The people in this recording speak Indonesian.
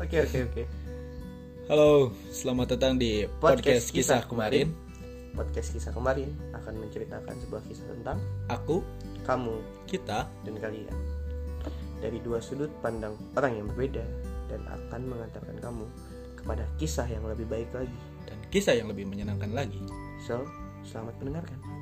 oke oke oke. Halo, selamat datang di podcast, Podcast kisah, Kisah kemarin. Podcast kisah kemarin akan menceritakan sebuah kisah tentang Aku, kamu kita, dan kalian dari dua sudut pandang orang yang berbeda dan akan mengantarkan kamu kepada kisah yang lebih baik lagi. dan kisah yang lebih menyenangkan lagi. So, selamat mendengarkan.